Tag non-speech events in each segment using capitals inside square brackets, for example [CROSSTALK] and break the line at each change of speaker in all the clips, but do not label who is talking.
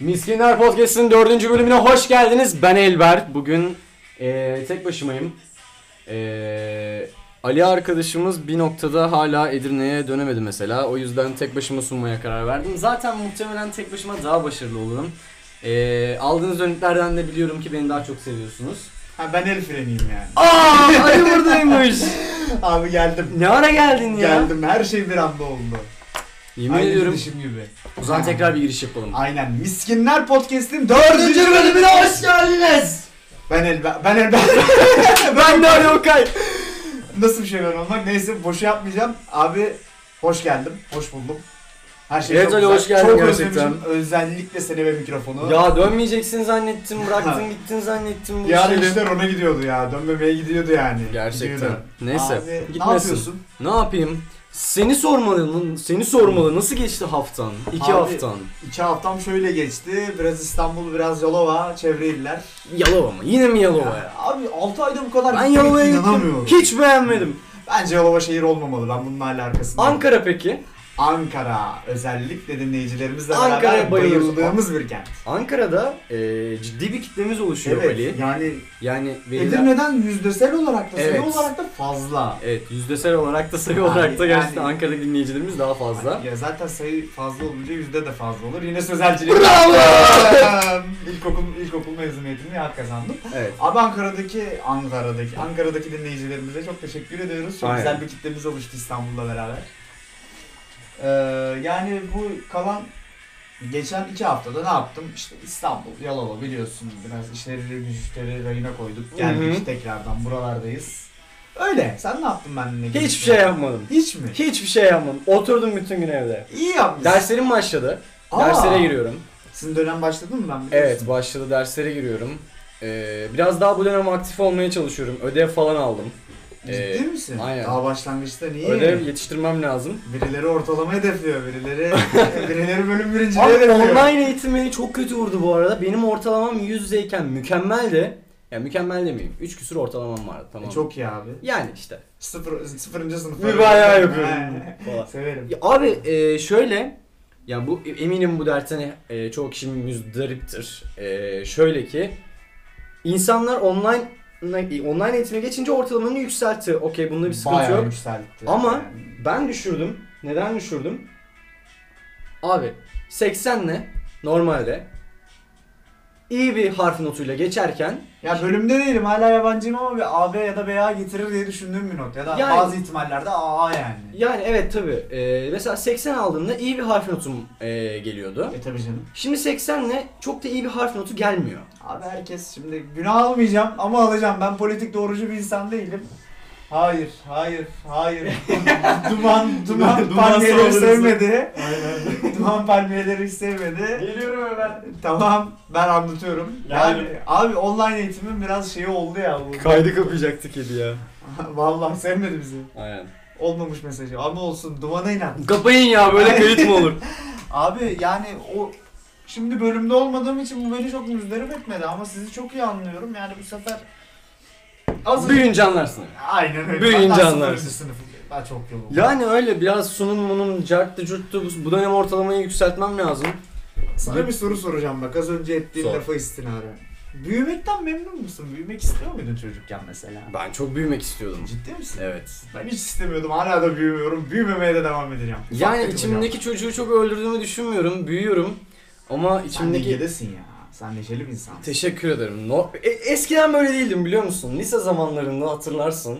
Miskinler Podcast'ın dördüncü bölümüne hoş geldiniz. Ben Elber. Bugün eee, tek başımayım. Eee, Ali arkadaşımız bir noktada hala Edirne'ye dönemedi mesela. O yüzden tek başıma sunmaya karar verdim. Zaten muhtemelen tek başıma daha başarılı olurum. Eee, aldığınız dönüklerden de biliyorum ki beni daha çok seviyorsunuz.
Ha ben el freniyim yani.
Aa, Ali
[LAUGHS]
buradaymış.
Abi geldim.
ne ara geldin ya?
[LAUGHS] Geldim. Her şey bir anda oldu.
Yemin
Aynı
ediyorum.
gidişim gibi.
O zaman tekrar bir giriş yapalım.
Aynen. Miskinler Podcast'in dördüncü bölümüne hoş geldiniz. Ben Elber. Ben Elber.
ben de Ali Okay.
Nasıl bir şey ben olmak? Neyse boşu yapmayacağım. Abi hoş geldim. Hoş buldum. Her şey
Evet
çok
Ali,
güzel.
hoş geldin
çok
gerçekten.
özlemişim. Özellikle seni ve mikrofonu.
Ya dönmeyeceksin zannettim, bıraktın gittin zannettim bu
Yarın
işleri.
işler ona gidiyordu ya. Dönmemeye gidiyordu yani.
şey Gerçekten.
Gidiyordu.
Neyse,
Abi, ne
gitmesin.
yapıyorsun?
Ne, yapayım? Seni sormalı, seni sormalı. Nasıl geçti haftan? İki
Abi-
haftan.
İki haftam şöyle geçti. Biraz İstanbul, biraz Yalova, çevre iller.
Yalova mı? Yine mi Yalova ya?
Ya, abi 6 ayda bu kadar
Ben
gitmek
Yalova'ya gittim.
inanamıyorum. Hmm.
Hiç beğenmedim.
Bence Yalova şehir olmamalı. Ben bunun hala arkasındayım.
Ankara peki?
Ankara. Özellikle dinleyicilerimizle
Ankara'ya
beraber
bayılıyoruz.
bayıldığımız bir kent.
Ankara'da eee, ciddi bir kitlemiz oluşuyor Ali.
Yani
Yani verilen...
Edirne'den yüzdesel olarak da sayı
Evet.
olarak da fazla.
Evet, yüzdesel olarak da sayı
Yani-
olarak da gerçekten
yani-
Ankara'daki dinleyicilerimiz daha fazla.
Ya zaten sayı fazla olunca yüzde de fazla olur. Yine sözelcilik. [LAUGHS]
Bravo!
ilkokul, ilkokul mezuniyetini hak kazandım.
Evet.
Abi Ankara'daki, Ankara'daki, Ankara'daki dinleyicilerimize çok teşekkür ediyoruz. Çok
Aynen.
güzel bir kitlemiz oluştu İstanbul'la beraber. Ee, yani bu kalan geçen iki haftada ne yaptım? İşte İstanbul, Yalova biliyorsun biraz işleri, güçleri rayına koyduk. Geldik
Hı hı.
tekrardan buralardayız. Öyle. Sen ne yaptın benimle?
Hiçbir şey yapmadım.
Hiç mi?
Hiçbir şey yapmadım. Oturdum bütün gün evde.
İyi yapmışsın.
Derslerim başladı.
Aa!
Derslere giriyorum.
Sizin dönem başladı mı ben? biliyorsun.
Evet başladı derslere giriyorum. Ee, biraz daha bu dönem aktif olmaya çalışıyorum. Ödev falan aldım.
Ciddi
Ee,
misin?
aynen.
Daha başlangıçta niye?
Ödev yetiştirmem lazım.
Birileri ortalama hedefliyor, birileri
[LAUGHS]
birileri bölüm birinciliği
Abi
hedefliyor.
online eğitim beni çok kötü vurdu bu arada. Benim ortalamam 100 yüzdeyken mükemmel de. Ya mükemmel demeyeyim. 3 küsur ortalamam vardı tamam.
E,
mı?
Çok iyi abi.
Yani işte.
Sıfır, sıfırıncı sınıf.
Mübalağa yapıyorum.
He.
falan.
Severim.
Ya abi e, şöyle ya bu eminim bu dertten e, çoğu kişi müzdariptir. E, şöyle ki insanlar online online eğitime geçince ortalamanı yükseltti. Okey bunda bir sıkıntı
Bayağı
yok.
yükseltti.
Ama-
Yani.
Ben düşürdüm. Neden düşürdüm? Abi 80 ne normalde iyi bir harf notuyla geçerken
Ya bölümde değilim hala yabancıyım ama bir AB ya da BA getirir diye düşündüğüm bir not. Ya da
Yani-
bazı ihtimallerde AA yani.
yani evet tabi mesela 80 aldığımda iyi bir harf notum e, geliyordu.
E tabii canım.
Şimdi 80 ne çok da iyi bir harf notu gelmiyor.
Abi herkes şimdi günah almayacağım ama alacağım. Ben politik doğrucu bir insan değilim. Hayır, hayır, hayır. duman, duman,
Duman
palmiyeleri
savunucusu.
sevmedi. [LAUGHS] duman palmiyeleri hiç sevmedi.
Geliyorum hemen.
Tamam ben anlatıyorum. Yani,
Yani-
abi online eğitimin biraz şeyi oldu ya bu.
Kaydı kapayacaktık kedi ya.
[LAUGHS] Vallahi sevmedi bizi.
Aynen.
Olmamış mesajı ama olsun dumana inan.
Kapayın ya böyle kayıt mı [LAUGHS] olur?
Abi yani o şimdi bölümde olmadığım için bu beni çok müzdarip etmedi ama sizi çok iyi anlıyorum. Yani bu sefer az
Büyüyünce anlarsın.
Aynen öyle.
Büyüyünce
Hatta
anlarsın.
sıfırıncı sınıfım. Daha çok yolum. var.
Yani öyle biraz sunum munum carttı curttu bu- bu dönem ortalamayı yükseltmem lazım.
Sana bir soru soracağım bak az önce ettiğin
Sor.
lafa istinaden. Büyümekten memnun musun? Büyümek istiyor muydun çocukken mesela?
Ben çok büyümek istiyordum.
Ciddi misin?
Evet.
Ben hiç istemiyordum. Hala da büyümüyorum. Büyümemeye de devam edeceğim.
Yani
Ufak takılacağım.
içimdeki çocuğu çok öldürdüğümü düşünmüyorum. Büyüyorum. Ama
Sen
içimdeki...
neşelisin ya. Sen neşeli bir insansın.
Teşekkür ederim. No... E- eskiden böyle değildim biliyor musun? Lise zamanlarında hatırlarsın.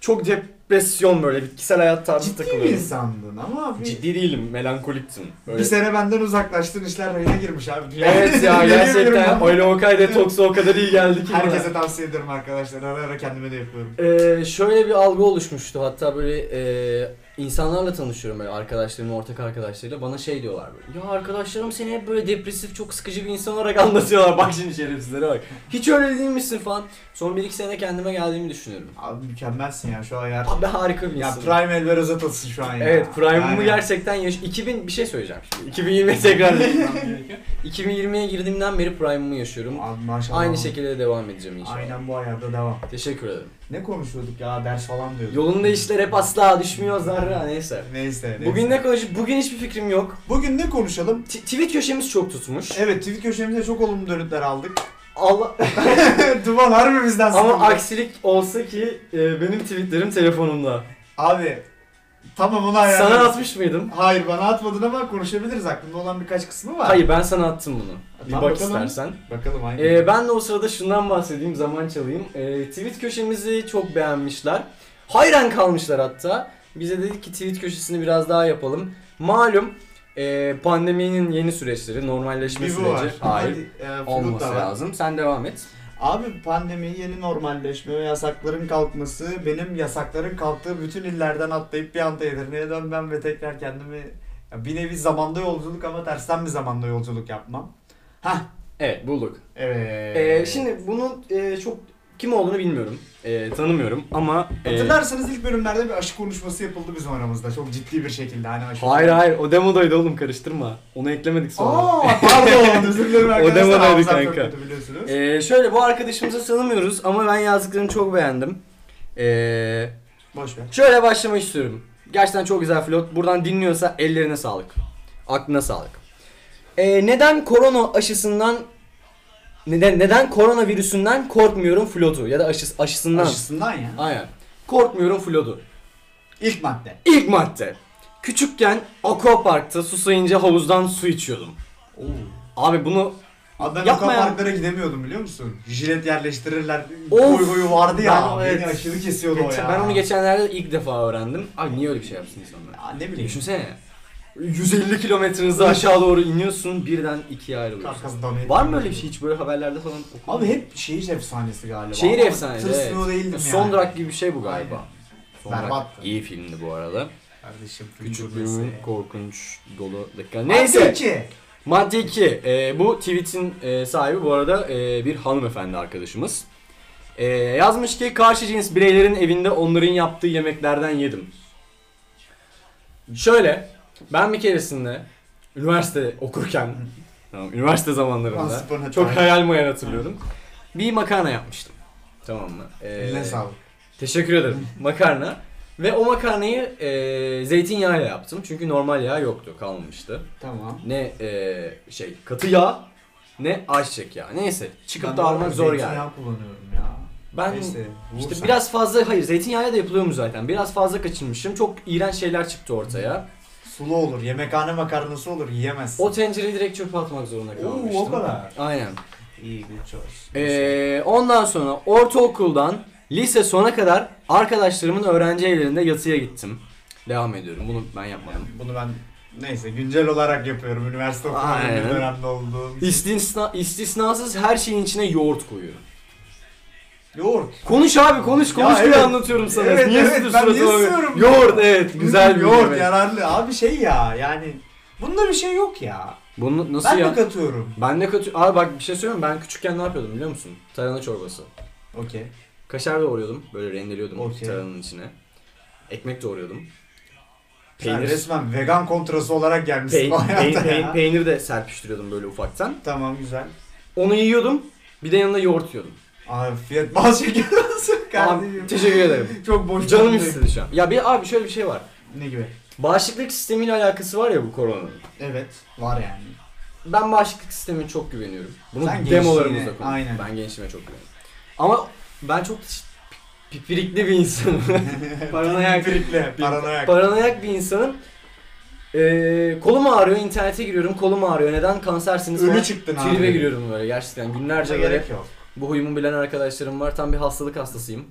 Çok depresyon böyle bitkisel hayat tarzı
Ciddi bir
takılıyordum.
insandın ama bir,
Ciddi değilim, melankoliktim.
bir sene benden uzaklaştın. işler rayına girmiş abi. Yani
Evet
[LAUGHS]
ya
ne
gerçekten
diyebilirim ben?
Oyla Okay detoksu o kadar iyi geldi ki bana.
Herkese tavsiye ederim arkadaşlar. Ara ara kendime de yapıyorum.
Ee, şöyle bir algı oluşmuştu hatta böyle e, insanlarla tanışıyorum böyle arkadaşlarımla ortak arkadaşlarıyla bana şey diyorlar böyle ya arkadaşlarım seni hep böyle depresif çok sıkıcı bir insan olarak anlatıyorlar bak şimdi şerefsizlere bak hiç öyle değilmişsin falan son 1-2 sene kendime geldiğimi düşünüyorum
Abi mükemmelsin ya şu an ya.
abi harika bir
Ya
insanım
Prime Elver Özatılsın şu an ya.
evet prime'ımı
Yani-
gerçekten yaş 2000 bir şey söyleyeceğim şimdi 2020 tekrar
[LAUGHS]
2020'ye girdiğimden beri prime'ımı yaşıyorum
Abi maşallah.
aynı şekilde devam edeceğim inşallah
Aynen bu ayarda devam.
teşekkür ederim
Ne konuşuyorduk ya ders falan diyorduk.
Yolunda işler hep asla düşmüyor zarra da neyse.
Neyse. neyse.
Bugün ne konuşup bugün hiçbir fikrim yok.
Bugün ne konuşalım?
T- tweet köşemiz çok tutmuş.
Evet tweet köşemize çok olumlu dönütler aldık. [LAUGHS]
Allah
Duman harbi bizden
ama
sıkıldı.
aksilik olsa ki e, benim tweetlerim telefonumda.
Abi tamam onu ayarlarız.
Sana atmış mıydım?
Hayır bana atmadın ama konuşabiliriz. Aklımda olan birkaç kısmı var.
Hayır ben sana attım bunu. Bir
Tamam,
bak
bakalım.
istersen.
Bakalım hangi.
Ee, ben de o sırada şundan bahsedeyim, zaman çalayım. Ee, tweet köşemizi çok beğenmişler. Hayran kalmışlar hatta. Bize dedik ki tweet köşesini biraz daha yapalım. Malum e, pandeminin yeni süreçleri, normalleşme
bir bu
süreci.
var.
Hayır.
Hadi, e, Fruit
Olması
da var.
lazım. Sen devam et.
Abi pandemi, yeni normalleşme ve yasakların kalkması benim yasakların kalktığı bütün illerden atlayıp bir anda Edirne'ye dönmem ve tekrar kendimi ya bir nevi zamanda yolculuk ama tersten bir zamanda yolculuk yapmam. Hah
Evet bulduk.
evet.
Ee, şimdi bunun e, çok kim olduğunu bilmiyorum. E, tanımıyorum ama... e,
Hatırlarsanız ilk bölümlerde bir aşk konuşması yapıldı bizim aramızda. Çok ciddi bir şekilde hani aşk.
Hayır hayır o demodaydı oğlum karıştırma. Onu eklemedik sonra.
Aa
[LAUGHS]
pardon özür dilerim arkadaşlar.
demodaydı
Hafızam çok
kanka.
kötü biliyorsunuz.
Ee, şöyle bu arkadaşımızı tanımıyoruz ama ben yazdıklarını çok beğendim. Ee,
Boş ver.
şöyle başlamak istiyorum. Gerçekten çok güzel flot. Buradan dinliyorsa ellerine sağlık. Aklına sağlık. Ee, neden korona aşısından neden neden koronavirüsünden korkmuyorum flotu ya da aşıs, aşısından.
Aşısından ya.
Aynen. Korkmuyorum flotu.
İlk madde.
İlk madde. Küçükken aquaparkta susayınca havuzdan su içiyordum. Abi bunu
Abi ben
Yapma ya.
otoparklara gidemiyordum biliyor musun? Jilet yerleştirirler.
Of!
Boy boyu vardı ya.
Ben o-
Beni
evet.
aşırı kesiyordu o ya.
ben onu geçenlerde ilk defa öğrendim. Abi niye öyle bir şey yapsın insanlar?
Ya ne bileyim.
Düşünsene. 150 kilometrenizi aşağı doğru iniyorsun birden ikiye ayrılıyorsun.
Arkasından hep-
Var mı öyle bir şey hiç böyle haberlerde falan okudun
Abi
mu?
hep şehir efsanesi galiba.
Şehir
Ama
efsanesi
Tırsmıyor
evet.
değildim yani.
Son Durak gibi bir şey bu galiba.
Aynen.
Son Durak
Berbattı.
iyi filmdi bu arada.
Kardeşim film
Küçük
cümlesi.
bir şey. korkunç dolu dakika.
Madde
Neyse. Ee,
iki.
Madde 2. bu tweet'in e, sahibi bu arada e, bir hanımefendi arkadaşımız. E, yazmış ki karşı cins bireylerin evinde onların yaptığı yemeklerden yedim. Şöyle ben bir keresinde üniversite okurken tamam, üniversite zamanlarında
Once upon a
çok
time.
hayal mayal hatırlıyorum. Bir makarna yapmıştım. Tamam mı? E,
Eline sağlık.
Teşekkür ederim. makarna. Ve o makarnayı e, zeytinyağıyla yaptım. Çünkü normal yağ yoktu, kalmıştı
Tamam.
ne e, şey katı yağ ne ayçiçek yağı. Neyse çıkıp da almak zor yani.
Ben de kullanıyorum ya.
Ben
Neyse,
işte
vursan.
biraz fazla hayır zeytinyağı da yapılıyormuş zaten. Biraz fazla kaçınmışım. Çok iğrenç şeyler çıktı ortaya.
Sulu olur. Yemekhane makarnası olur. Yiyemezsin.
O tencereyi direkt çöpe atmak zorunda
Oo,
kalmıştım.
o kadar.
Aynen.
İyi good choice.
Ee, ondan sonra ortaokuldan lise sona kadar arkadaşlarımın öğrenci evlerinde yatıya gittim. Devam ediyorum. Bunu ben yapmadım.
Bunu ben neyse güncel olarak yapıyorum. Üniversite okuduğum
Aynen.
bir dönemde olduğum için.
İstisna, istisnasız her şeyin içine yoğurt koyuyorum.
Yoğurt.
Konuş abi konuş konuş
Ya
diye
evet.
anlatıyorum sana.
Evet,
niye
evet,
sütür
ben
suratıma
niye
böyle-
sığıyorum ya?
Yoğurt evet güzel bir
Yoğurt
yemek.
yararlı. Abi şey ya yani bunda bir şey yok ya.
Bunu nasıl
ben
ya?
de katıyorum.
ben de kötü. Abi bak bir şey söyleyeyim mi? Ben küçükken ne yapıyordum biliyor musun? Tarhana çorbası.
Okey.
Kaşar doğruyordum. Böyle rendeliyordum
Okey.
tarhananın içine. Ekmek doğruyordum.
Sen
Peynir.
resmen vegan kontrası olarak
[LAUGHS]
gelmişsin
Peyn,
[LAUGHS] bu hayata
peyn,
ya.
peyn- peynir de serpiştiriyordum böyle ufaktan.
Tamam güzel.
Onu yiyordum. Bir de yanında yoğurt yiyordum.
Afiyet bal şeker olsun kardeşim.
Abi, teşekkür
[LAUGHS]
ederim.
Çok boş
Canım
kaldı.
istedi şu an. Ya bir abi şöyle bir şey var.
Ne gibi?
Bağışıklık sistemiyle alakası var ya bu koronanın.
Evet var yani.
Ben bağışıklık sistemine çok güveniyorum. Bunu
Sen
demolarımızda
gençliğine,
konuştuk.
aynen.
Ben gençliğime çok güveniyorum. Ama ben çok pi- pipirikli bir
[LAUGHS]
insanım. paranoyak,
Pirikli, paranoyak.
paranoyak bir insanım. Ee, kolum ağrıyor, internete giriyorum, kolum ağrıyor. Neden kansersiniz
Ölü
falan.
çıktın abi.
Tribe giriyorum böyle gerçekten. Günlerce
Bence
böyle
gerek yok.
bu huyumu bilen arkadaşlarım var. Tam bir hastalık hastasıyım.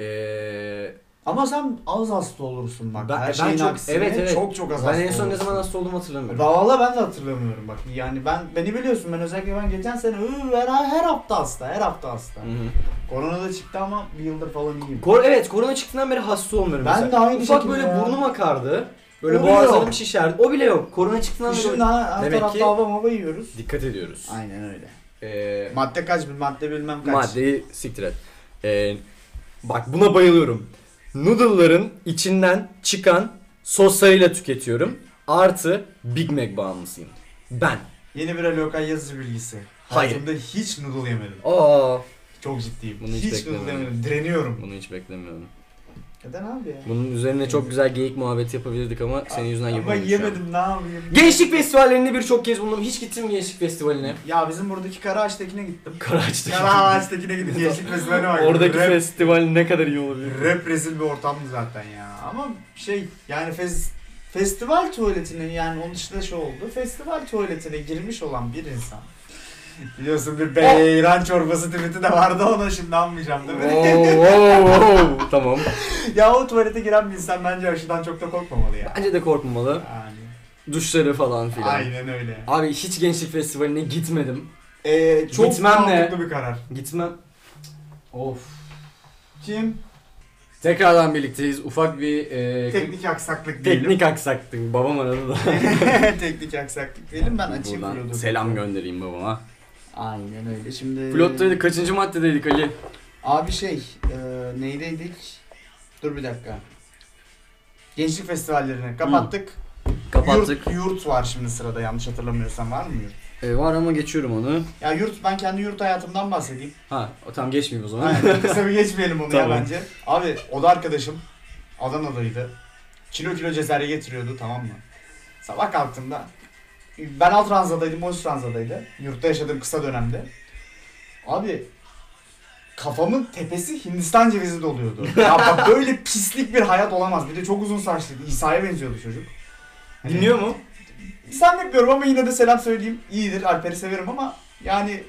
Ee,
Ama sen az hasta olursun bak.
Ben-
Her
ben
şeyin
çok-
aksine
evet, evet.
çok çok az
ben
hasta
en son ne
olursun.
zaman hasta olduğumu hatırlamıyorum.
Valla ben de hatırlamıyorum bak. Yani ben beni biliyorsun ben özellikle ben geçen sene "Iı, ben her hafta hasta, her hafta hasta.
Hı hı.
Korona da çıktı ama bir yıldır falan iyiyim.
Kor evet korona çıktığından beri hasta olmuyorum.
Ben
mesela.
de aynı
Ufak
şekilde
böyle
ya.
burnum akardı. Böyle
O bile
boğazlarım
yok.
şişerdi. O bile yok. Korona çıktığından beri
Kışın ha- her
Demek
tarafta
ki-
hava hava yiyoruz.
dikkat ediyoruz.
Aynen öyle.
Ee,
Madde kaç bir madde bilmem kaç.
maddeyi siktir et. Ee, bak buna bayılıyorum. Noodle'ların içinden çıkan soslarıyla tüketiyorum. Artı Big Mac bağımlısıyım. Ben.
Yeni bir alokan yazıcı bilgisi.
Hayır.
Hayatımda hiç noodle yemedim.
Aa,
Çok ciddiyim.
Bunu hiç
hiç noodle
beklemiyordum.
yemedim. Direniyorum.
bunu hiç beklemiyordum.
Neden abi ya?
Bunun üzerine çok güzel geyik muhabbeti yapabilirdik ama senin yüzünden
Ama
yapamadık. şu an.
yemedim ne yapayım?
Gençlik festivallerinde birçok kez bulundum. Hiç gittim mi gençlik festivaline?
Ya bizim buradaki Karaağaç'takine gittim.
Karaağaç'ta.
Karaağaç'takine gidip gençlik festivali var.
Oradaki
Rap-
festival ne kadar iyi olabilir.
Rap rezil bir ortamdı zaten ya. Ama şey yani fez, festival tuvaletinin yani onun dışında şey oldu. Festival tuvaletine girmiş olan bir insan. Biliyorsun bir beyran çorbası tweet'i de vardı ona şimdi anmayacağım değil mi?
Wow, wow, wow. tamam.
[LAUGHS] ya o tuvalete giren bir insan bence aşıdan çok da korkmamalı [LAUGHS] ya.
Bence de korkmamalı.
Yani,
Duşları falan filan.
aynen öyle.
Abi hiç gençlik festivaline gitmedim.
Ee, çok
Gitmem ne?
mantıklı bir karar.
Gitmem. Of.
Kim?
Tekrardan birlikteyiz. Ufak bir e,
Teknik aksaklık diyelim. [LAUGHS]
teknik aksaklık. Babam aradı da.
Teknik aksaklık diyelim ben açayım
Buradan
Flod'u.
selam göndereyim babama.
Aynen öyle şimdi.
Flottaydı kaçıncı maddedeydik Ali?
Abi şey, e, neydeydik? Dur bir dakika. Gençlik festivallerini kapattık.
Kapattık.
Yurt, yurt var şimdi sırada yanlış hatırlamıyorsam var mı yurt?
E, var ama geçiyorum onu.
Ya yurt ben kendi yurt hayatımdan bahsedeyim.
Ha o tam geçmeyeyim o zaman.
Aynen. Kısa bir geçmeyelim onu ya
Tamam.
bence. Abi oda arkadaşım Adana'daydı. Kilo kilo cezerye getiriyordu tamam mı? Sabah kalktığımda ben alt ranzadaydım, o üst ranzadaydı. Yurtta yaşadığım kısa dönemde. Abi kafamın tepesi Hindistan cevizi doluyordu.
[LAUGHS]
Ya bak böyle pislik bir hayat olamaz. Bir de çok uzun saçlıydı. İsa'ya benziyordu çocuk. Hani-
Dinliyor mu?
Zannetmiyorum ama yine de selam söyleyeyim. İyidir. Alper'i severim ama yani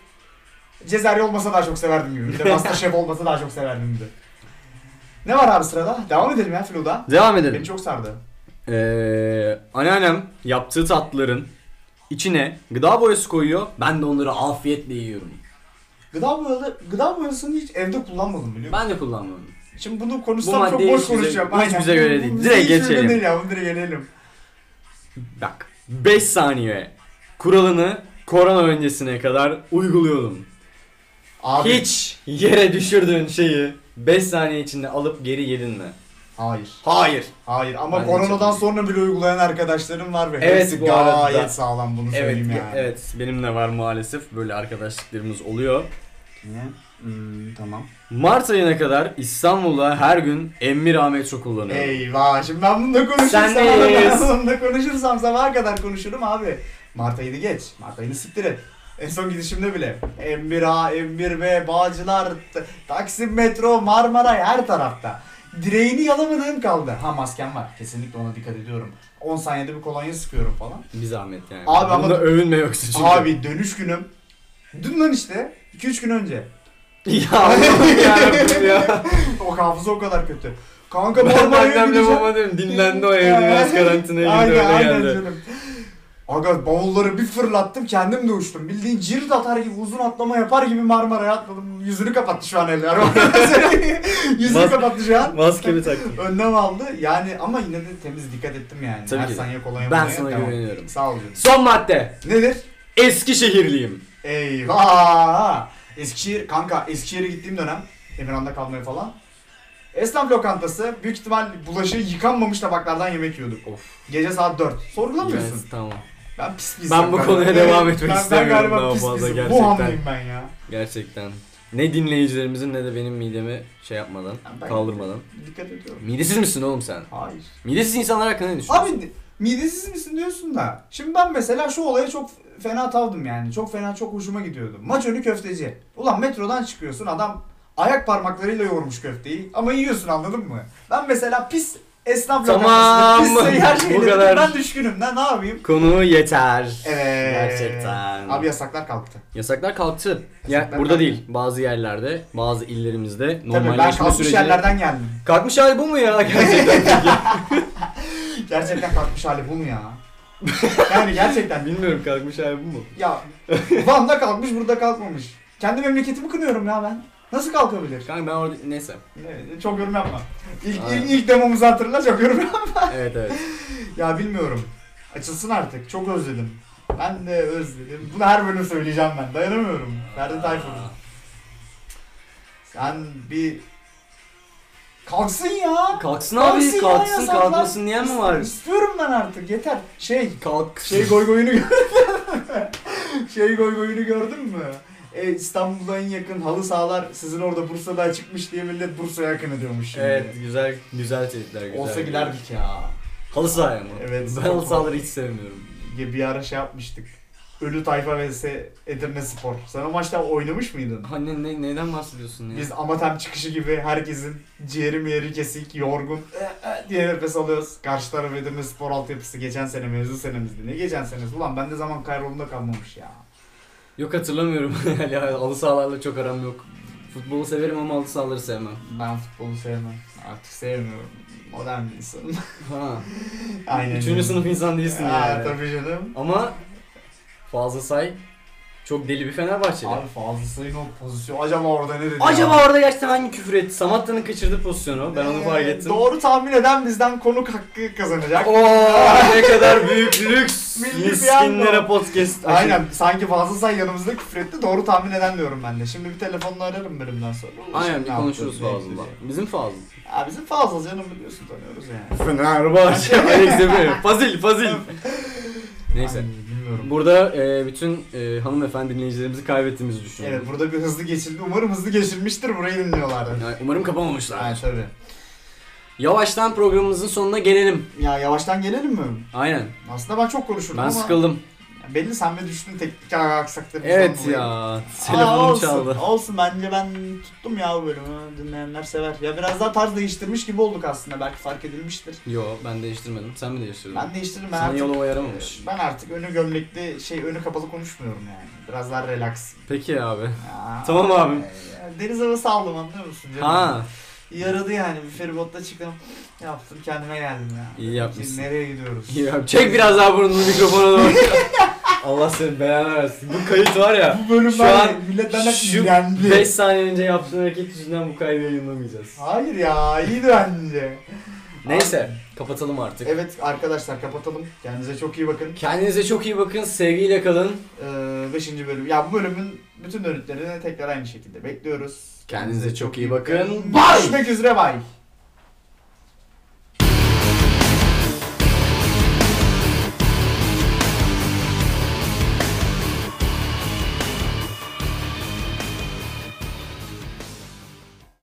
Cezerye olmasa daha çok severdim gibi. Bir de Masterchef olmasa daha çok severdim gibi. Ne var abi sırada? Devam edelim ya Filo'da.
Devam edelim.
Beni çok sardı.
Ee, anneannem yaptığı tatlıların içine gıda boyası koyuyor. Ben de onları afiyetle yiyorum.
Gıda boyalı, gıda boyasını hiç evde kullanmadım biliyor musun?
Ben de kullanmıyorum.
Şimdi bunu
Bu
konuşsam çok
maddeyi
boş
hiç bize-
konuşacağım.
bu hiç bize göre
Bu
değil.
bize
Direkt
hiç uygun
geçelim.
Değil ya, bunu direkt gelelim.
Bak 5 saniye kuralını korona öncesine kadar uyguluyordum.
Abi.
Hiç yere düşürdüğün şeyi 5 saniye içinde alıp geri yedin mi?
Hayır.
Hayır.
Hayır ama
Ben de
koronadan
çok-
sonra bile uygulayan arkadaşlarım var ve
Evet,
hepsi
bu arada.
gayet sağlam bunu
Evet,
söyleyeyim yani.
evet benim de var maalesef böyle arkadaşlıklarımız oluyor.
Niye? Hmm, tamam.
Mart ayına kadar İstanbul'a her gün Emir Ahmet çok kullanıyorum.
Eyvah şimdi ben bununla konuşursam
Sen neyiz?
[LAUGHS] ben bununla konuşursam sabaha kadar konuşurum abi. Mart ayını geç. Mart ayını siktir et. En son gidişimde bile. M1A, M1B, Bağcılar, T- Taksim Metro, Marmaray her tarafta. Direğini yalamadığım kaldı. Ha maskem var. Kesinlikle ona dikkat ediyorum. 10 saniyede bir kolonya sıkıyorum falan.
Bir zahmet yani.
Abi ama-
Bunda övünme yoksa çünkü.
Abi dönüş günüm. Dün lan işte. 2-3 gün önce.
ya Allah'ım yarabbim
[LAUGHS]
ya.
O hafıza o kadar kötü. Kanka
Ben
Marmaray'a
annemle
gideceğim.
babam dedim dinlendi o evde biraz karantinaya girdi
Aynen,
öyle
aynen
geldi.
canım. Aga bavulları bir fırlattım kendim de uçtum. Bildiğin cirit atar gibi uzun atlama yapar gibi Marmara'ya atladım. Yüzünü kapattı şu an eller. [LAUGHS] Yüzünü
Mas-
kapattı şu an.
Maskemi taktım.
Önlem aldı. Yani ama yine de temiz dikkat ettim yani.
Tabii
Her
ki de.
saniye kolonya
Ben
bulmaya-
sana
Tamam.
güveniyorum.
Sağ ol canım.
Son madde.
Nedir?
Eskişehirliyim.
Eyvah! Eskişehir, kanka Eskişehir'e gittiğim dönem Emirhan'da kalmaya falan. Esnaf lokantası büyük ihtimal bulaşığı yıkanmamış tabaklardan yemek yiyorduk.
Of.
Gece saat 4. Sorgulamıyorsun.
Yes, tamam.
Ben pis bir
Ben
insanım
bu
galiba.
konuya devam etmek
ben,
istemiyorum
Ben galiba
daha
pis bir
fazla
insanım.
gerçekten.
Bu hamleyim ben ya.
Gerçekten. Ne dinleyicilerimizin ne de benim midemi şey yapmadan,
Ben- ben-
kaldırmadan.
Dikkat ediyorum.
Midesiz misin oğlum sen?
Hayır.
Midesiz insanlar hakkında ne düşünüyorsun?
Abi midesiz misin diyorsun da. Şimdi ben mesela şu olaya çok fena tavdım yani. Çok fena çok hoşuma gidiyordu. Maç önü köfteci. Ulan metrodan çıkıyorsun adam ayak parmaklarıyla yoğurmuş köfteyi ama yiyorsun anladın mı? Ben mesela pis esnaf
Tamam.
lokantasında pis seyyar
Bu
şeylerine
kadar.
ben düşkünüm. Ne, ne yapayım?
Konu yeter.
Evet.
Gerçekten.
Abi yasaklar kalktı.
Yasaklar kalktı. Ya,
Yasaklar
burada
kalktı.
değil. Bazı yerlerde, bazı illerimizde
Tabii ben
normalleşme
kalkmış
süreci.
yerlerden geldim.
Kalkmış hali bu mu ya [LAUGHS] gerçekten?
Gerçekten kalkmış hali bu mu
[LAUGHS]
ya? yani gerçekten
Bilmiyorum kalkmış hali bu mu?
Ya Van'da kalkmış burada kalkmamış. Kendi memleketimi kınıyorum ya ben. Nasıl kalkabilir?
Kanka ben orada
[LAUGHS]
neyse.
Evet, çok yorum yapma. İlk,
Aynen.
ilk, ilk demomuzu hatırla çok yorum yapma.
Evet evet.
[LAUGHS] Ya bilmiyorum. Açılsın artık. Çok özledim. Ben de özledim. Bunu her bölüm söyleyeceğim ben. Dayanamıyorum. Ferdi Tayfur. Sen bir... Kalksın ya.
Kalksın abi,
ya,
kalksın,
yasaklar.
kalkmasın diyen mi var?
İstiyorum ben artık. Yeter. Şey,
Kalk.
[LAUGHS] Şey goy goyunu gördün mü? şey goy goyunu gördün mü? e, İstanbul'a en yakın halı sahalar sizin orada Bursa'da açıkmış diye millet Bursa'ya akın ediyormuş
[LAUGHS]
şimdi.
Evet güzel güzel teyitler güzel.
Olsa giderdik ya.
Halı sahaya mı?
Evet.
Ben halı sahaları hiç sevmiyorum.
Bir ara şey yapmıştık. Ölü Tayfa vs Edirne Spor. Sen o maçta oynamış mıydın?
Anne Hani ne, neyden bahsediyorsun ya?
Biz amatem çıkışı gibi herkesin ciğeri miğeri kesik, yorgun "Eh, eh" diye nefes alıyoruz. Karşı taraf Edirne Spor altyapısı geçen sene mezun senemizdi. Ne geçen senesi? Ulan bende zaman kayrolunda kalmamış ya.
Yok hatırlamıyorum. [LAUGHS] yani halı sahalarla çok aram yok. Futbolu severim ama halı sahaları sevmem.
Ben futbolu sevmem. Artık sevmiyorum. Modern bir
[LAUGHS]
insanım.
Ha.
Aynen.
Üçüncü sınıf insan değilsin
Aa,
yani.
Tabii canım.
Ama fazla say çok deli bir Fenerbahçeli.
Abi Fazıl Say'ın o pozisyonu. Acaba orada ne dedi? ya?
Acaba orada gerçekten hangi küfür etti? Samatta'nın kaçırdığı pozisyonu. Ben onu
Ee,
fark ettim.
Doğru tahmin eden bizden konuk hakkı kazanacak.
Oo ne kadar büyük lüks.
Milli
Miskinlere
piyango.
podcast.
Aynen sanki Fazıl Say yanımızda küfretti. Doğru tahmin eden diyorum ben de. Şimdi bir telefonla ararım bölümden sonra.
Aynen
Şimdi
bir
ne
konuşuruz
yapacağız, ne
Fazıl'la.
edeceğiz?
Bizim Fazıl.
Ya bizim Fazıl canım biliyorsun tanıyoruz
[LAUGHS]
yani.
Fenerbahçe. Alex Demirel. Fazil, Fazil. Neyse.
Ay, bilmiyorum.
Burada e, bütün e, hanımefendi dinleyicilerimizi kaybettiğimizi düşünüyorum.
Evet burada bir hızlı geçildi. Umarım hızlı geçilmiştir burayı dinliyorlardır.
Yani umarım kapamamışlar.
Yani tabii.
Yavaştan programımızın sonuna gelelim.
Ya yavaştan gelelim mi?
Aynen.
Aslında ben çok konuşurum
Ben
ama
sıkıldım.
belli sen ve düştün teknik aksaklarımızdan
Evet
dolayı.
ya.
Aa,
Telefonum
olsun,
çaldı.
Olsun bence ben tuttum ya bu bölümü. Dinleyenler sever. Ya biraz daha tarz değiştirmiş gibi olduk aslında. Belki fark edilmiştir.
Yo ben değiştirmedim. Sen mi değiştirdin?
Ben değiştiririm. Ben
Sana
artık,
yola yaramamış.
ben artık önü gömlekli şey önü kapalı konuşmuyorum yani. Biraz daha relax.
Peki abi.
Ya.
Tamam abim.
Ya, Deniz havası aldım anlıyor musun? canım?
Ha.
Yaradı yani bir feribotta çıktım. Yaptım kendime geldim ya.
İyi yapmışsın.
Biz nereye
[LAUGHS]
gidiyoruz?
iyi abi. Çek biraz daha burnunu mikrofona doğru. [LAUGHS] Allah seni belanı versin. Bu kayıt var [LAUGHS] ya.
Bu bölüm
Şu
var ya,
an-
millet benden
Şu
dinlendi.
5 saniye önce yaptığın hareket yüzünden bu kaydı yayınlamayacağız.
Hayır ya iyiydi bence.
Neyse kapatalım artık.
Evet arkadaşlar kapatalım. Kendinize çok iyi
E-
bakın.
Kendinize çok iyi bakın. Sevgiyle kalın.
Ee, beşinci bölüm. Ya bu bölümün bütün dönütlerini tekrar aynı şekilde bekliyoruz.
Kendinize çok iyi bakın. Bye!
Görüşmek üzere bay.